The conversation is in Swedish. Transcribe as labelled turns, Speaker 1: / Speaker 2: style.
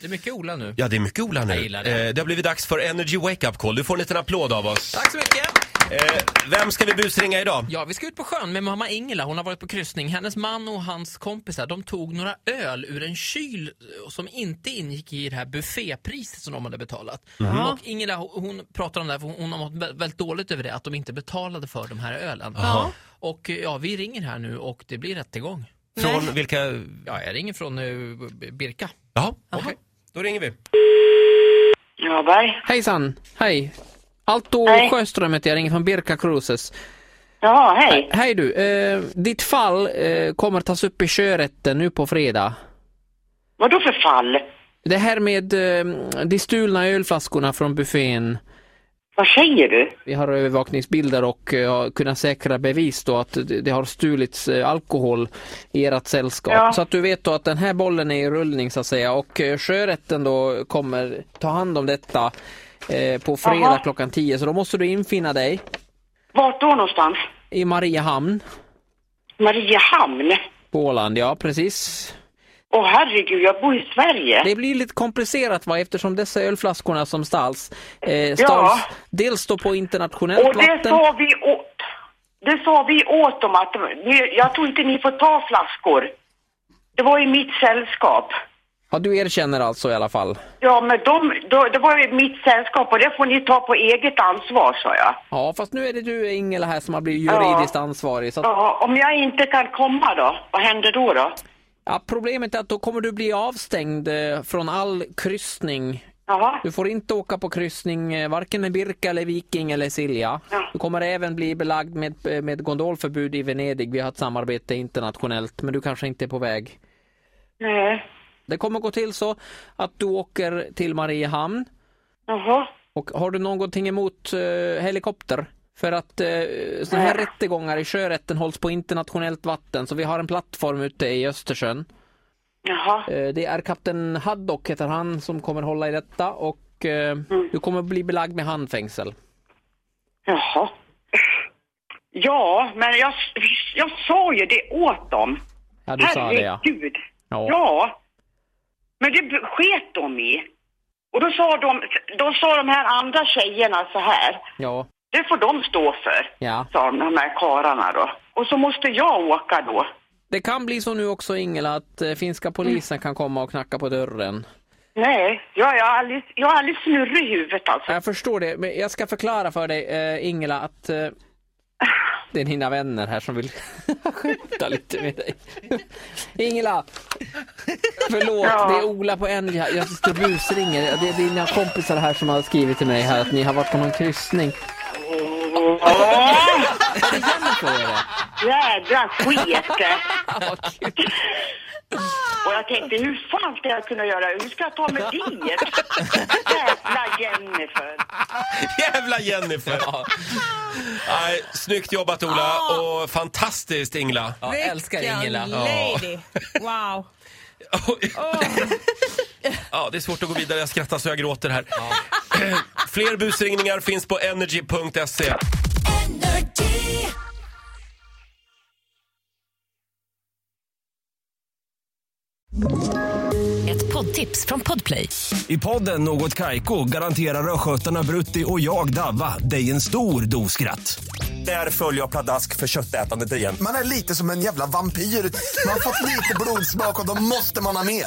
Speaker 1: Det är mycket Ola nu.
Speaker 2: Ja, det är mycket Ola nu.
Speaker 1: Jag gillar det.
Speaker 2: Eh, det har blivit dags för Energy Wake Up Call. Du får en liten applåd av oss.
Speaker 1: Tack så mycket!
Speaker 2: Eh, vem ska vi busringa idag?
Speaker 1: Ja, vi ska ut på sjön med mamma Ingela. Hon har varit på kryssning. Hennes man och hans kompisar, de tog några öl ur en kyl eh, som inte ingick i det här buffépriset som de hade betalat. Och Ingela, hon hon pratar om det här, för hon- hon har mått vä- väldigt dåligt över det, att de inte betalade för de här ölen.
Speaker 2: Jaha.
Speaker 1: Och eh, ja, vi ringer här nu och det blir rättegång.
Speaker 2: Från vilka...
Speaker 1: Ja, jag ringer från eh, B- Birka.
Speaker 2: Jaha, okej. Då ringer vi.
Speaker 3: Öberg?
Speaker 4: Hejsan, hej. Alto
Speaker 3: Hej.
Speaker 4: Sjöström heter jag, ringer från Birka Cruises.
Speaker 3: Ja, hej.
Speaker 4: Hej du, eh, ditt fall eh, kommer tas upp i körätten nu på fredag.
Speaker 3: Vad då för fall?
Speaker 4: Det här med eh, de stulna ölflaskorna från buffén.
Speaker 3: Vad säger du?
Speaker 4: Vi har övervakningsbilder och eh, har kunnat säkra bevis då att det det har stulits eh, alkohol i ert sällskap.
Speaker 3: Ja.
Speaker 4: Så att du vet då att den här bollen är i rullning så att säga och eh, sjörätten då kommer ta hand om detta eh, på fredag
Speaker 3: Jaha.
Speaker 4: klockan 10 så då måste du infinna dig.
Speaker 3: Vart då någonstans?
Speaker 4: I Mariehamn
Speaker 3: Mariehamn?
Speaker 4: på Åland, ja precis.
Speaker 3: Åh herregud, jag bor i Sverige.
Speaker 4: Det blir lite komplicerat va eftersom dessa ölflaskorna som stals, eh, stals
Speaker 3: Ja.
Speaker 4: dels då på internationellt
Speaker 3: Och det
Speaker 4: vatten.
Speaker 3: sa vi åt... Det sa vi åt dem att ni, jag tror inte ni får ta flaskor. Det var i mitt sällskap.
Speaker 4: Ja, du erkänner alltså i alla fall.
Speaker 3: Ja, men de, då- det var i mitt sällskap och det får ni ta på eget ansvar, sa jag.
Speaker 4: Ja, fast nu är det du Ingela här som har blivit juridiskt
Speaker 3: Ja.
Speaker 4: ansvarig. Så att,
Speaker 3: Ja, om jag inte kan komma då, vad händer då då?
Speaker 4: ja, problemet är att då kommer du bli avstängd eh, från all kryssning.
Speaker 3: Jaha,
Speaker 4: Du får inte åka på kryssning eh, varken med Birka eller Viking eller Silja.
Speaker 3: Ja.
Speaker 4: Du kommer även bli belagd med, eh, med gondolförbud i Venedig. Vi har ett samarbete internationellt, men du kanske inte är på väg.
Speaker 3: nej,
Speaker 4: Det kommer gå till så att du åker till Mariehamn
Speaker 3: jaha.
Speaker 4: och har du någonting emot eh, helikopter? För att eh, sådana här
Speaker 3: Nej.
Speaker 4: rättegångar i sjörätten hålls på internationellt vatten så vi har en plattform ute i Östersjön.
Speaker 3: Jaha,
Speaker 4: Eh, Det är kapten Haddock heter han som kommer hålla i detta och eh,
Speaker 3: Mm.
Speaker 4: du kommer bli belagd med handfängsel.
Speaker 3: jaha. Ja, men jag, jag sa ju det åt dem.
Speaker 4: Ja, du sa det ja.
Speaker 3: Herregud.
Speaker 4: Ja.
Speaker 3: Ja. Men det b- sket de i. Och då sa de, då sa de här andra tjejerna så här.
Speaker 4: Ja,
Speaker 3: Det får de stå för,
Speaker 4: ja.
Speaker 3: sa de, de här karlarna då. Och så måste jag åka då.
Speaker 4: Det kan bli så nu också Ingela att eh, finska
Speaker 3: Mm.
Speaker 4: polisen kan komma och knacka på dörren.
Speaker 3: Nej, jag är alldeles, jag är alldeles snurrig i huvudet alltså.
Speaker 4: Jag förstår det, men jag ska förklara för dig eh, Ingela att eh, det är dina vänner här som vill skämta lite med dig. Ingela! Förlåt,
Speaker 3: Ja.
Speaker 4: det är Ola på en. Jag jag sitter och busringer. Det är dina kompisar här som har skrivit till mig här att ni har varit på någon kryssning.
Speaker 3: Åh,
Speaker 4: Är det Jennifer är det?
Speaker 3: jädra skit!
Speaker 4: Ja, vad kul.
Speaker 3: Och jag tänkte, hur fan ska jag kunna göra? Hur ska jag ta mig dit? Jävla Jennifer!
Speaker 2: Jävla Jennifer! Nej, snyggt jobbat Ola och fantastiskt Ingla.
Speaker 1: Ah. Ja, jag älskar Ingela.
Speaker 5: lady. Wow.
Speaker 1: Ah.
Speaker 2: Ja, det är svårt att gå vidare. Jag skrattar så jag gråter här. Fler busringningar finns på energy.se.
Speaker 6: Ett poddtips från Podplay.
Speaker 7: I podden Något Kaiko garanterar östgötarna Brutti och jag, Davva, dig en stor dos skratt. Där följer jag pladask för köttätandet igen.
Speaker 8: Man är lite som en jävla vampyr. Man har fått lite blodsmak och då måste man ha mer.